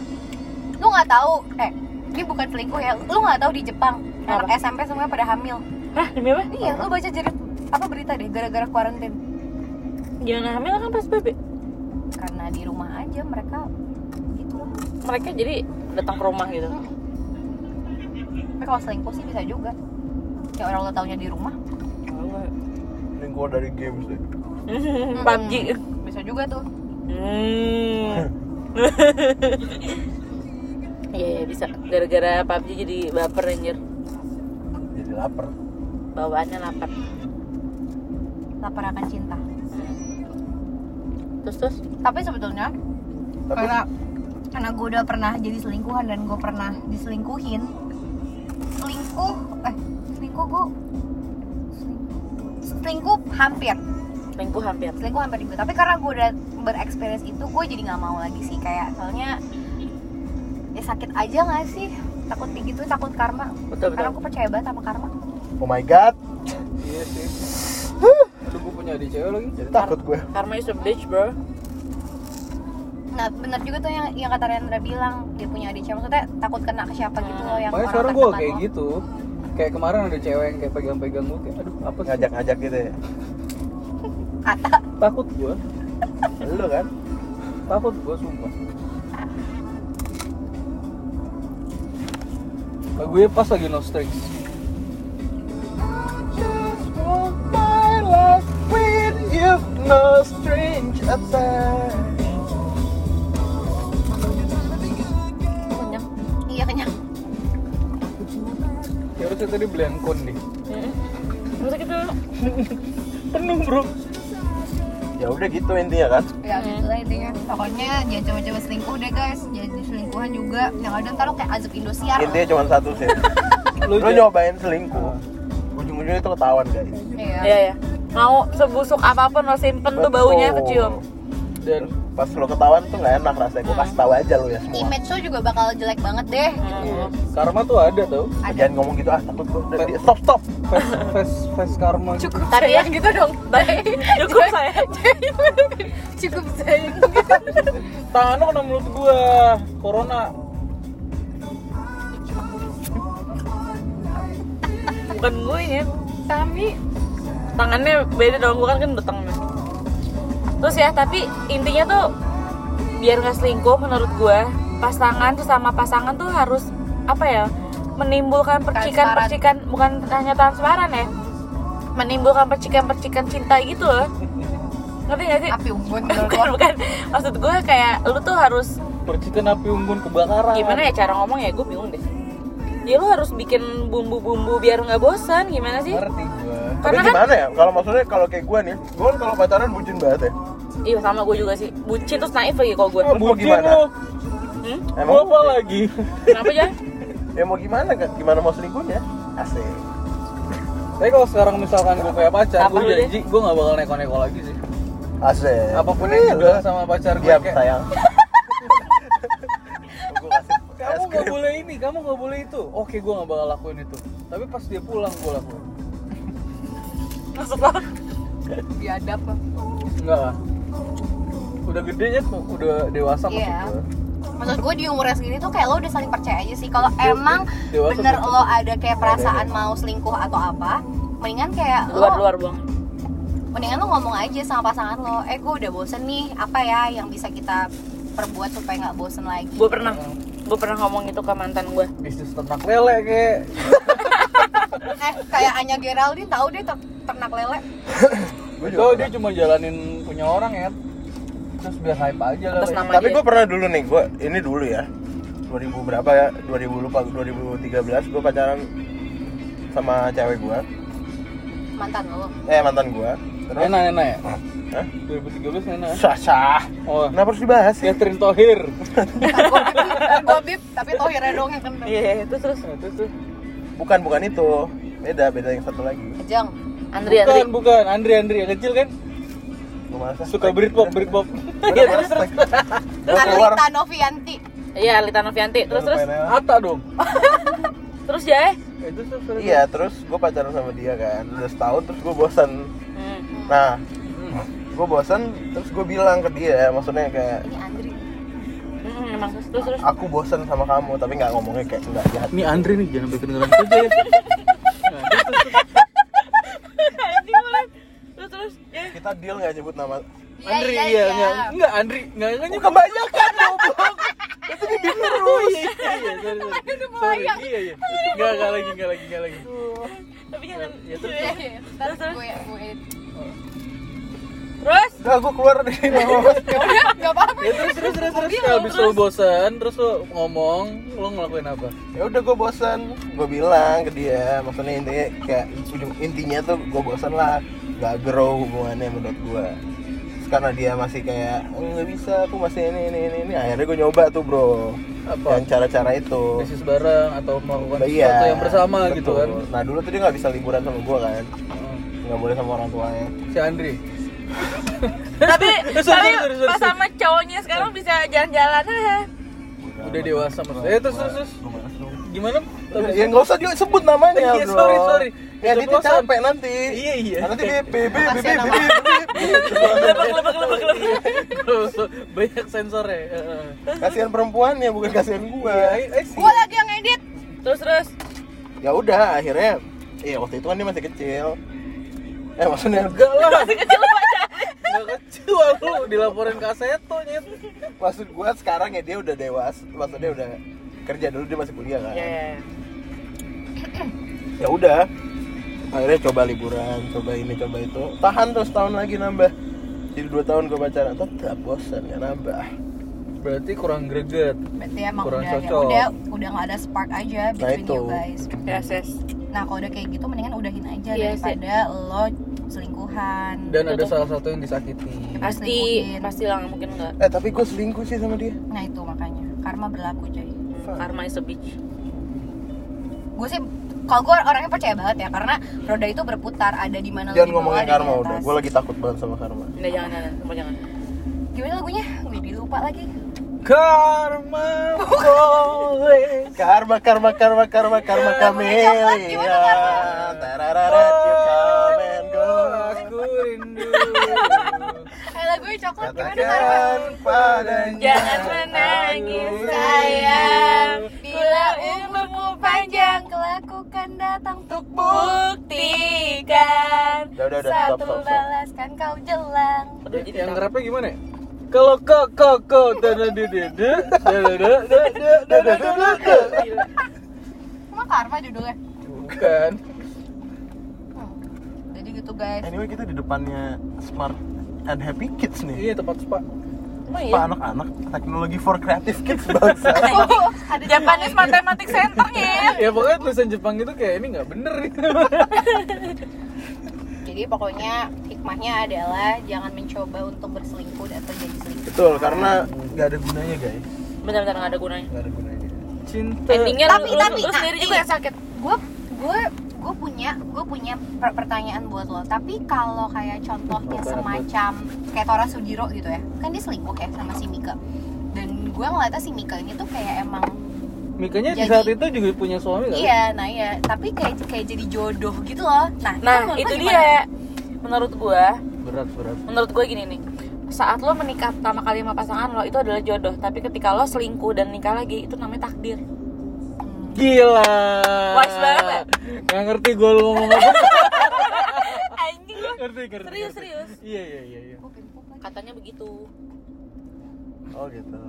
[SPEAKER 3] lu nggak tahu eh ini bukan selingkuh ya lu nggak tahu di Jepang anak
[SPEAKER 2] Apa?
[SPEAKER 3] SMP semuanya pada hamil
[SPEAKER 2] Hah, demi apa?
[SPEAKER 3] iya lu baca jadi apa berita deh gara-gara kuarantin
[SPEAKER 2] Jangan hamil kan PSBB.
[SPEAKER 3] karena di rumah aja mereka gitu lah
[SPEAKER 2] Mereka jadi datang ke rumah gitu.
[SPEAKER 3] Hmm. tapi kalau selingkuh sih bisa juga ya orang lu taunya di rumah
[SPEAKER 1] Selingkuh dari games deh.
[SPEAKER 2] Hmm, PUBG.
[SPEAKER 3] bisa juga tuh
[SPEAKER 2] Hmm. Iya, iya, bisa. Gara-gara PUBG jadi baper anjir.
[SPEAKER 1] Jadi lapar.
[SPEAKER 2] Bawaannya lapar.
[SPEAKER 3] lapar akan cinta
[SPEAKER 2] Terus terus
[SPEAKER 3] tapi sebetulnya
[SPEAKER 1] Tapi
[SPEAKER 3] karena karena gue udah pernah jadi selingkuhan dan gue pernah diselingkuhin selingkuh eh selingkuh gue selingkuh hampir
[SPEAKER 2] selingkuh hampir.
[SPEAKER 3] selingkuh hampir juga tapi karena gue udah bereksperience itu gue jadi nggak mau lagi sih kayak soalnya ya sakit aja nggak sih takut begitu takut karma
[SPEAKER 2] Betul
[SPEAKER 3] karena
[SPEAKER 2] betul.
[SPEAKER 3] aku percaya banget sama karma
[SPEAKER 1] oh my god,
[SPEAKER 4] iya sih aduh gue punya adik cewek lagi
[SPEAKER 1] jadi takut gue.
[SPEAKER 2] Karma is a bitch, bro.
[SPEAKER 3] nah bener juga tuh yang yang kata Rendra bilang dia punya adik cewek maksudnya takut kena ke siapa gitu loh yang
[SPEAKER 4] Hmm. makanya
[SPEAKER 3] orang
[SPEAKER 4] sekarang gue
[SPEAKER 3] terdekat
[SPEAKER 4] kayak
[SPEAKER 3] lo.
[SPEAKER 4] gitu kayak kemarin ada cewek yang kayak pegang-pegang gue kayak aduh apa sih
[SPEAKER 1] Ngajak-ngajak gitu ya.
[SPEAKER 3] kata
[SPEAKER 4] takut gue
[SPEAKER 1] Lu kan?
[SPEAKER 4] takut gue sumpah gue pas lagi no strings
[SPEAKER 1] no strange attached.
[SPEAKER 2] Banyak.
[SPEAKER 3] iya kenyang
[SPEAKER 4] ya harusnya tadi beli yang kon nih
[SPEAKER 2] Masa gitu
[SPEAKER 4] penuh bro
[SPEAKER 1] Ya udah gitu intinya kan.
[SPEAKER 3] ya
[SPEAKER 2] Hmm.
[SPEAKER 3] gitu lah intinya pokoknya jangan coba-coba selingkuh deh guys jangan selingkuhan juga yang ada ntar lo kayak azab indosiar
[SPEAKER 4] Iya,
[SPEAKER 1] Intinya cuma satu sih.
[SPEAKER 4] Lu
[SPEAKER 1] Lu
[SPEAKER 4] ja-
[SPEAKER 1] nyobain selingkuh. Ujung-ujungnya itu ketahuan guys.
[SPEAKER 3] iya
[SPEAKER 2] Iya ya. Mau sebusuk apapun lo simpen tuh baunya
[SPEAKER 1] Betul.
[SPEAKER 2] kecium.
[SPEAKER 4] dan
[SPEAKER 1] Pas lu ketahuan tuh nggak enak rasanya. Gue kasih tahu aja lu ya semua.
[SPEAKER 3] image lo juga bakal jelek banget deh
[SPEAKER 4] iya, karma tuh ada tau
[SPEAKER 3] ada
[SPEAKER 1] Jangan ngomong gitu ah takut gue. Udah, di- Stop stop.
[SPEAKER 4] face face face karma gitu.
[SPEAKER 3] cukup
[SPEAKER 2] Tadi ya.
[SPEAKER 3] sayang gitu dong
[SPEAKER 2] Baik, cukup saya.
[SPEAKER 3] cukup sayang
[SPEAKER 4] tangan lo kena mulut gua corona
[SPEAKER 2] Bukan gue ya.
[SPEAKER 3] kami
[SPEAKER 2] tangannya beda dong bukan kan beteng terus ya tapi intinya tuh biar nggak selingkuh menurut gue pasangan sesama pasangan tuh harus apa ya menimbulkan percikan percikan bukan hanya transparan ya menimbulkan percikan percikan cinta gitu loh ngerti gak sih
[SPEAKER 3] api unggun
[SPEAKER 2] bukan
[SPEAKER 3] menurut lo
[SPEAKER 2] bukan maksud gue kayak lu tuh harus
[SPEAKER 4] percikan api unggun kebakaran
[SPEAKER 2] gimana ya cara ngomong ya gue bingung deh ya lu harus bikin bumbu-bumbu biar nggak bosan gimana sih
[SPEAKER 4] ngerti gua
[SPEAKER 1] Tapi
[SPEAKER 2] karena kan
[SPEAKER 1] gimana ya? Kalau maksudnya kalau kayak gue nih, gue kan kalau pacaran bucin banget ya.
[SPEAKER 2] Iya sama gue juga sih. Bucin terus naif lagi kalau gue.
[SPEAKER 1] Terus mau
[SPEAKER 4] Ah, bucin
[SPEAKER 1] gimana?
[SPEAKER 4] lo
[SPEAKER 2] Hmm?
[SPEAKER 4] gua
[SPEAKER 1] Emang
[SPEAKER 4] apa lagi
[SPEAKER 2] Kenapa ya?
[SPEAKER 1] ya mau gimana kan? Gimana mau selingkuhnya? Asik.
[SPEAKER 4] Tapi kalau sekarang misalkan gue punya pacar,
[SPEAKER 2] Apa
[SPEAKER 4] gue
[SPEAKER 2] lu deh?
[SPEAKER 4] janji gue gak bakal neko-neko lagi sih.
[SPEAKER 5] Asik.
[SPEAKER 4] Apapun yang
[SPEAKER 1] Iya.
[SPEAKER 4] dibilang sama pacar gue
[SPEAKER 5] Iya. Diam
[SPEAKER 4] kayak,
[SPEAKER 5] sayang. Gua kasih es
[SPEAKER 4] kamu gak
[SPEAKER 5] krim.
[SPEAKER 4] boleh ini, kamu gak boleh itu. Oke, gue gak bakal lakuin itu. Tapi pas dia pulang, gue lakuin.
[SPEAKER 2] Maksud lo?
[SPEAKER 6] biadab lah.
[SPEAKER 4] Enggak lah. Udah gedenya kok, udah dewasa
[SPEAKER 3] Iya.
[SPEAKER 4] maksud gue.
[SPEAKER 3] maksud gue di umurnya segini tuh kayak lo udah saling percaya aja sih kalau
[SPEAKER 2] Iya,
[SPEAKER 4] Dia-
[SPEAKER 3] emang
[SPEAKER 4] dia- dewasa
[SPEAKER 3] bener
[SPEAKER 4] tuh-
[SPEAKER 3] lo ada kayak perasaan mau selingkuh atau apa mendingan kayak
[SPEAKER 2] Luar
[SPEAKER 3] lo
[SPEAKER 2] luar buang.
[SPEAKER 3] mendingan lo ngomong aja sama pasangan lo eh gue udah bosen nih apa ya yang bisa kita perbuat supaya nggak bosen lagi
[SPEAKER 2] Gue pernah gue pernah ngomong itu ke mantan gue.
[SPEAKER 4] Bisnis ternak lele kayak
[SPEAKER 3] eh kayak Anya Geraldine tahu deh ter- ternak lele
[SPEAKER 5] Gua juga
[SPEAKER 4] Gue
[SPEAKER 5] pernah.
[SPEAKER 4] dia cuma jalanin punya orang ya Terus biar hype aja lah
[SPEAKER 2] Atas nama
[SPEAKER 1] Tapi
[SPEAKER 2] dia.
[SPEAKER 1] gue pernah dulu nih, gue ini dulu ya. 2000 berapa ya? 2000 lupa 2013 gue pacaran sama cewek gue.
[SPEAKER 3] mantan lo
[SPEAKER 1] Eh mantan gue. Terus
[SPEAKER 4] Nena, Nena ya?
[SPEAKER 1] Hah?
[SPEAKER 4] 2013 Nena ya?
[SPEAKER 1] sah sah.
[SPEAKER 4] Oh,
[SPEAKER 1] Kenapa harus dibahas? sih?
[SPEAKER 4] Catherine Tohir
[SPEAKER 3] gue bip tapi tohirnya doang yang kena
[SPEAKER 2] Iya, itu terus
[SPEAKER 4] Nah, Terus tuh
[SPEAKER 1] Bukan bukan itu. Beda beda yang satu lagi.
[SPEAKER 3] Jeng,
[SPEAKER 2] Andri
[SPEAKER 4] Bukan,
[SPEAKER 2] Andri.
[SPEAKER 4] bukan, Andri, Andri yang kecil kan?
[SPEAKER 1] Gue malas. ah.
[SPEAKER 4] Suka Britpop, Britpop
[SPEAKER 1] Udah, udah, udah. Gua keluar.
[SPEAKER 3] Arlita Novianti
[SPEAKER 2] Iya, Lita Novianti. Terus terus
[SPEAKER 4] Ata dong
[SPEAKER 2] terus Jae.
[SPEAKER 4] Ya, Terus terus terus.
[SPEAKER 1] Iya, terus gue pacaran sama dia kan, udah setahun terus gue bosan.
[SPEAKER 2] Hmm.
[SPEAKER 1] Nah, gue bosan, terus gue bilang ke dia, maksudnya kayak
[SPEAKER 3] ini Andri
[SPEAKER 2] Hmm, emang terus terus. terus.
[SPEAKER 1] aku bosan sama kamu, tapi nggak ngomongnya kayak nggak jahat.
[SPEAKER 4] Ini Andri nih, jangan sampai kedengeran aja ya
[SPEAKER 2] Anjing, mulai. Terus terus Jae.
[SPEAKER 1] Kita deal nggak nyebut nama.
[SPEAKER 4] Andri, iya, iya. Enggak, Andri, enggak, enggak nyuka
[SPEAKER 1] Kebanyakan.
[SPEAKER 4] Itu di bim terus Iya, iya, sorry, sorry Sorry, iya, iya Enggak, enggak lagi, enggak lagi, enggak lagi
[SPEAKER 2] Tapi jangan.
[SPEAKER 4] Ya, terus,
[SPEAKER 2] Iya, iya.
[SPEAKER 3] Ntar gue gue
[SPEAKER 2] Terus
[SPEAKER 1] Udah, gue keluar dari nama.
[SPEAKER 3] nggak apa-apa
[SPEAKER 4] Ya terus terus terus terus kalau habis lu bosen terus lu ngomong lu ngelakuin apa?
[SPEAKER 1] ya udah gue bosan gue bilang ke dia maksudnya intinya kayak ujung intinya tuh gue bosan lah gak grow hubungannya menurut gue Terus karena dia masih kayak "Eh, nggak bisa aku masih ini ini ini ini akhirnya gue nyoba tuh bro
[SPEAKER 4] Apa?
[SPEAKER 1] yang cara-cara itu
[SPEAKER 4] Bisnis bareng atau melakukan
[SPEAKER 1] Nah,
[SPEAKER 4] sesuatu yang bersama
[SPEAKER 1] betul.
[SPEAKER 4] gitu kan?
[SPEAKER 1] nah dulu tuh dia nggak bisa liburan sama gue kan nggak boleh sama orang tuanya
[SPEAKER 4] Oh, Si Andri.
[SPEAKER 2] tapi
[SPEAKER 4] Terus,
[SPEAKER 2] tapi
[SPEAKER 4] terus, terus, terus.
[SPEAKER 2] pas sama cowoknya sekarang bisa jalan-jalan.
[SPEAKER 4] Udah dewasa maksudnya. Eh terus terus terus
[SPEAKER 1] Gua malas dong.
[SPEAKER 4] gimana? Tapi
[SPEAKER 1] ya nggak usah juga sebut namanya
[SPEAKER 4] Iya,
[SPEAKER 1] bro
[SPEAKER 4] sorry, sorry.
[SPEAKER 1] ya dia tuh
[SPEAKER 4] Keceplosan.
[SPEAKER 1] capek nanti
[SPEAKER 4] Iya, iya.
[SPEAKER 1] nanti dia BB BB
[SPEAKER 3] Kasihan
[SPEAKER 1] BB
[SPEAKER 3] sama-
[SPEAKER 4] banyak sensornya. Heeh.
[SPEAKER 1] kasihan perempuannya bukan kasihan gue
[SPEAKER 4] Iya, eh, sih.
[SPEAKER 3] gue lagi yang edit
[SPEAKER 2] Terus terus.
[SPEAKER 1] ya udah akhirnya iya waktu itu kan dia masih kecil eh maksudnya
[SPEAKER 4] Enggak lah. Enggak kecil lu dilaporin ke Aseto nyet.
[SPEAKER 1] maksud gua sekarang ya dia udah dewasa maksudnya udah kerja dulu dia masih kuliah kan
[SPEAKER 2] Iya. iya.
[SPEAKER 1] ya udah akhirnya coba liburan coba ini coba itu tahan terus tahun lagi nambah jadi dua tahun gua pacaran tetap bosan nggak nambah
[SPEAKER 4] Berarti kurang greget.
[SPEAKER 3] berarti emang
[SPEAKER 4] Kurang
[SPEAKER 3] udah ya
[SPEAKER 4] cocok.
[SPEAKER 3] udah udah nggak ada spark aja between
[SPEAKER 1] Nah, itu.
[SPEAKER 3] you guys
[SPEAKER 2] Yes, yes.
[SPEAKER 3] nah kalau udah kayak gitu mendingan udahin aja
[SPEAKER 2] Iya sih.
[SPEAKER 3] daripada lo selingkuhan
[SPEAKER 4] Dan ada salah satu yang disakiti.
[SPEAKER 2] Ah. Pasti pasti lah nggak mungkin enggak.
[SPEAKER 1] eh tapi gua selingkuh sih sama dia
[SPEAKER 3] nah itu makanya karma berlaku coy
[SPEAKER 2] Karma is a bitch.
[SPEAKER 3] gue sih kalau gue orangnya percaya banget ya karena roda itu berputar ada di mana lo
[SPEAKER 1] jangan
[SPEAKER 3] di bawah,
[SPEAKER 1] ngomongin
[SPEAKER 3] ada di
[SPEAKER 1] karma
[SPEAKER 3] atas.
[SPEAKER 1] udah gua lagi takut banget sama karma
[SPEAKER 2] Enggak jangan jangan, sumpah jangan.
[SPEAKER 3] gimana lagunya gue dilupa lagi
[SPEAKER 4] Karma boleh.
[SPEAKER 1] karma karma karma karma karma kami
[SPEAKER 3] coklat, gimana
[SPEAKER 1] tararat you come and go
[SPEAKER 4] Aku rindu.
[SPEAKER 3] eh lagunya coklat gimana karma
[SPEAKER 1] Katakan padanya
[SPEAKER 2] Jangan menangis
[SPEAKER 3] sayang bila umurmu panjang kelakukan datang
[SPEAKER 2] untuk buktikan.
[SPEAKER 1] Udah, udah, udah, stop,
[SPEAKER 3] satu
[SPEAKER 1] stop, stop.
[SPEAKER 3] balaskan kau jelang
[SPEAKER 2] Udah jadi
[SPEAKER 4] Yang
[SPEAKER 2] tahu.
[SPEAKER 4] ngerapnya gimana ya? Kalau kok kok kok dada dede dada dada dada dada
[SPEAKER 2] Gila.
[SPEAKER 3] emang karma judulnya
[SPEAKER 4] bukan
[SPEAKER 3] Hmm. jadi gitu guys
[SPEAKER 1] Anyway kita di depannya Smart and Happy Kids
[SPEAKER 4] iya
[SPEAKER 1] nih
[SPEAKER 4] tempat spa
[SPEAKER 2] Emang
[SPEAKER 1] Pak
[SPEAKER 2] iya.
[SPEAKER 1] anak-anak teknologi for creative kids bangsa
[SPEAKER 3] Oh, ada
[SPEAKER 2] Japanese Mathematics Center ya.
[SPEAKER 4] ya pokoknya tulisan Jepang itu kayak ini nggak bener nih
[SPEAKER 3] Jadi pokoknya hikmahnya adalah jangan mencoba untuk berselingkuh atau jadi selingkuh.
[SPEAKER 1] Betul karena nggak ada gunanya guys
[SPEAKER 2] Benar-benar nggak ada gunanya.
[SPEAKER 1] nggak ada gunanya
[SPEAKER 4] cinta
[SPEAKER 2] Endingnya
[SPEAKER 3] tapi
[SPEAKER 2] lu,
[SPEAKER 3] tapi
[SPEAKER 2] lu, lu
[SPEAKER 3] nah,
[SPEAKER 2] sendiri
[SPEAKER 3] ini
[SPEAKER 2] juga
[SPEAKER 3] yang sakit. Gue gue gue punya gue punya per- pertanyaan buat lo tapi kalau kayak contohnya semacam kayak Tora Sudiro gitu ya kan dia selingkuh ya sama si Mika dan gue ngeliatnya si Mika ini tuh kayak emang
[SPEAKER 4] Mikanya di
[SPEAKER 3] Jadi-
[SPEAKER 4] saat itu juga punya suami nggak?
[SPEAKER 3] iya nah iya tapi kayak kayak jadi jodoh gitu loh nah,
[SPEAKER 2] Nah,
[SPEAKER 3] menurut lo
[SPEAKER 2] itu
[SPEAKER 3] gimana? Hmm.
[SPEAKER 2] dia. Menurut gua,
[SPEAKER 4] Berat berat.
[SPEAKER 2] menurut gua gini nih. Saat lo menikah pertama kali sama pasangan lo itu adalah jodoh, tapi ketika lo selingkuh dan nikah lagi itu namanya takdir.
[SPEAKER 4] Gila.
[SPEAKER 2] Wise banget. ya?
[SPEAKER 4] Nggak ngerti gue lu ngomong apa.
[SPEAKER 2] Anjing lo.
[SPEAKER 4] ngerti ngerti.
[SPEAKER 2] Serius,
[SPEAKER 4] ngerti.
[SPEAKER 2] serius.
[SPEAKER 4] Iya iya iya. iya.
[SPEAKER 2] Katanya begitu.
[SPEAKER 5] Oh gitu.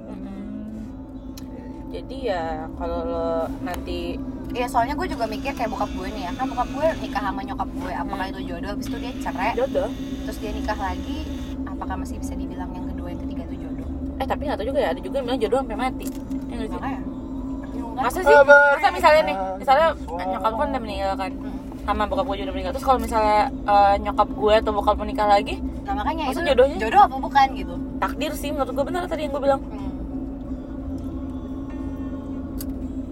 [SPEAKER 2] Jadi ya kalau lo nanti
[SPEAKER 3] Iya soalnya gue juga mikir kayak bokap gue nih ya Kan bokap gue nikah sama nyokap gue Apakah
[SPEAKER 2] Hmm.
[SPEAKER 3] itu jodoh? Habis itu dia
[SPEAKER 4] Eh,
[SPEAKER 3] cerai
[SPEAKER 2] jodoh,
[SPEAKER 3] Terus dia nikah lagi Apakah masih bisa dibilang yang kedua yang ketiga itu jodoh?
[SPEAKER 2] eh tapi nggak tahu juga ya ada juga yang bilang jodoh sampai mati. Ya nggak
[SPEAKER 4] Nah,
[SPEAKER 2] sih?
[SPEAKER 3] Makanya bingung kan?
[SPEAKER 4] eh,
[SPEAKER 2] Masa sih? Masa misalnya nih, misalnya nyokap gue kan udah meninggal kan
[SPEAKER 3] Hmm.
[SPEAKER 2] sama bokap gue juga udah meninggal terus kalau misalnya eh, nyokap gue atau bokap gue nikah lagi
[SPEAKER 3] Nah makanya
[SPEAKER 2] Masa
[SPEAKER 3] itu
[SPEAKER 2] jodohnya?
[SPEAKER 3] jodoh apa bukan gitu
[SPEAKER 2] takdir sih menurut gue benar tadi yang gue bilang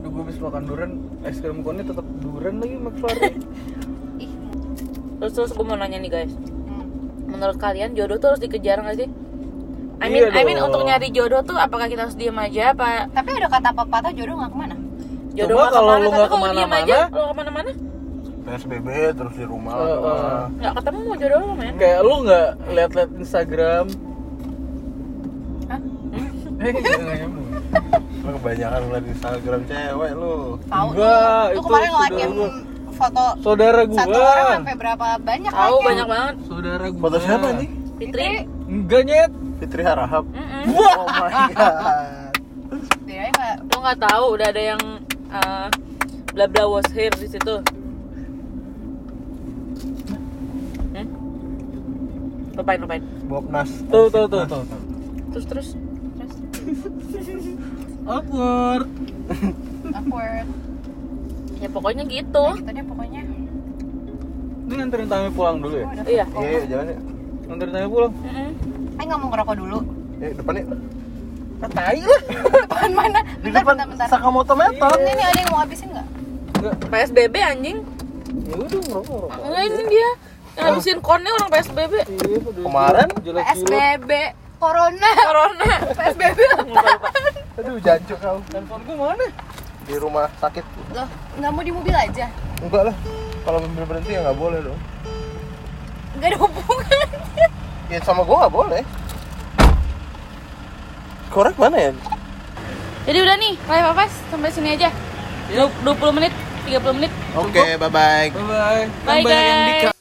[SPEAKER 4] Aduh gue habis makan durian, es krim konnya tetap durian lagi McFlurry.
[SPEAKER 3] Ih
[SPEAKER 2] terus terus gue mau nanya nih guys
[SPEAKER 3] hmm.
[SPEAKER 2] menurut kalian jodoh tuh harus dikejar nggak sih I
[SPEAKER 4] Iya
[SPEAKER 2] mean, I mean
[SPEAKER 4] dong.
[SPEAKER 2] untuk nyari jodoh tuh apakah kita harus diem aja apa
[SPEAKER 3] Tapi ada kata pepatah jodoh gak kemana?
[SPEAKER 4] Coba
[SPEAKER 2] jodoh nggak
[SPEAKER 4] kalau
[SPEAKER 2] kemana
[SPEAKER 4] lu
[SPEAKER 2] tapi
[SPEAKER 4] nggak
[SPEAKER 2] kalau diem
[SPEAKER 4] kemana-mana-
[SPEAKER 2] aja lo kemana-mana
[SPEAKER 1] PSBB terus di rumah
[SPEAKER 4] Eh,
[SPEAKER 1] di rumah.
[SPEAKER 4] eh.
[SPEAKER 2] nggak ketemu mau jodoh lo men
[SPEAKER 4] Kayak lu nggak liat-liat Instagram?
[SPEAKER 3] Hah?
[SPEAKER 4] Eh, nggak nyambung.
[SPEAKER 1] Lu kebanyakan ngeliat Instagram cewek lu
[SPEAKER 3] Tahu
[SPEAKER 4] Enggak,
[SPEAKER 3] Lu
[SPEAKER 4] itu
[SPEAKER 3] kemarin ngelakin
[SPEAKER 4] sudah-
[SPEAKER 3] foto
[SPEAKER 4] Saudara gua.
[SPEAKER 3] satu orang sampai berapa banyak
[SPEAKER 2] tahu
[SPEAKER 3] like-nya?
[SPEAKER 2] banyak banget
[SPEAKER 4] Saudara gua.
[SPEAKER 1] foto siapa nih
[SPEAKER 2] Fitri
[SPEAKER 4] Enggak nyet.
[SPEAKER 1] Fitri Harahap
[SPEAKER 2] Mm-mm.
[SPEAKER 1] oh my god
[SPEAKER 3] Bedanya gak
[SPEAKER 2] lo nggak tahu udah ada yang eh, bla bla was here di situ hmm? lupain lupain
[SPEAKER 1] Boknas
[SPEAKER 4] Tuh tuh tuh tuh. tuh.
[SPEAKER 2] terus terus
[SPEAKER 4] Awkward.
[SPEAKER 3] awkward
[SPEAKER 2] ya pokoknya gitu
[SPEAKER 3] Gitu deh pokoknya
[SPEAKER 4] Ini nganterin Tami pulang dulu ya.
[SPEAKER 3] Gua udah
[SPEAKER 2] iya
[SPEAKER 1] iya yuk, jalan yuk
[SPEAKER 4] Nganterin Tami pulang.
[SPEAKER 2] Mm-mm.
[SPEAKER 3] Eh gak mau ngerokok dulu
[SPEAKER 1] Eh, depan yuk Ah,
[SPEAKER 4] Tai lah.
[SPEAKER 3] Depan mana?
[SPEAKER 1] di
[SPEAKER 3] Bentar,
[SPEAKER 1] depan
[SPEAKER 3] bentar, bentar
[SPEAKER 1] Sakamoto Method
[SPEAKER 3] Ini nih ada yang mau habisin gak?
[SPEAKER 2] PSBB anjing
[SPEAKER 4] Ya udah ngerokok ngerokok.
[SPEAKER 2] enggak ini dia yang habisin konnya orang PSBB
[SPEAKER 4] Iya, udah
[SPEAKER 1] Kemarin?
[SPEAKER 4] jelek-jelek.
[SPEAKER 3] PSBB Corona
[SPEAKER 2] corona
[SPEAKER 3] PSBB
[SPEAKER 1] aduh jancuk kau
[SPEAKER 4] Handphone gua mana?
[SPEAKER 1] di rumah sakit
[SPEAKER 3] Loh, nggak mau di mobil aja?
[SPEAKER 1] enggak lah kalau mobil berhenti ya nggak boleh dong
[SPEAKER 3] Nggak ada hubungan
[SPEAKER 1] ya sama gua nggak boleh korek mana ya
[SPEAKER 2] jadi udah nih live apa sampai sini Iya. aja 20 menit 30 menit
[SPEAKER 1] oke bye bye
[SPEAKER 4] Bye bye.
[SPEAKER 2] bye guys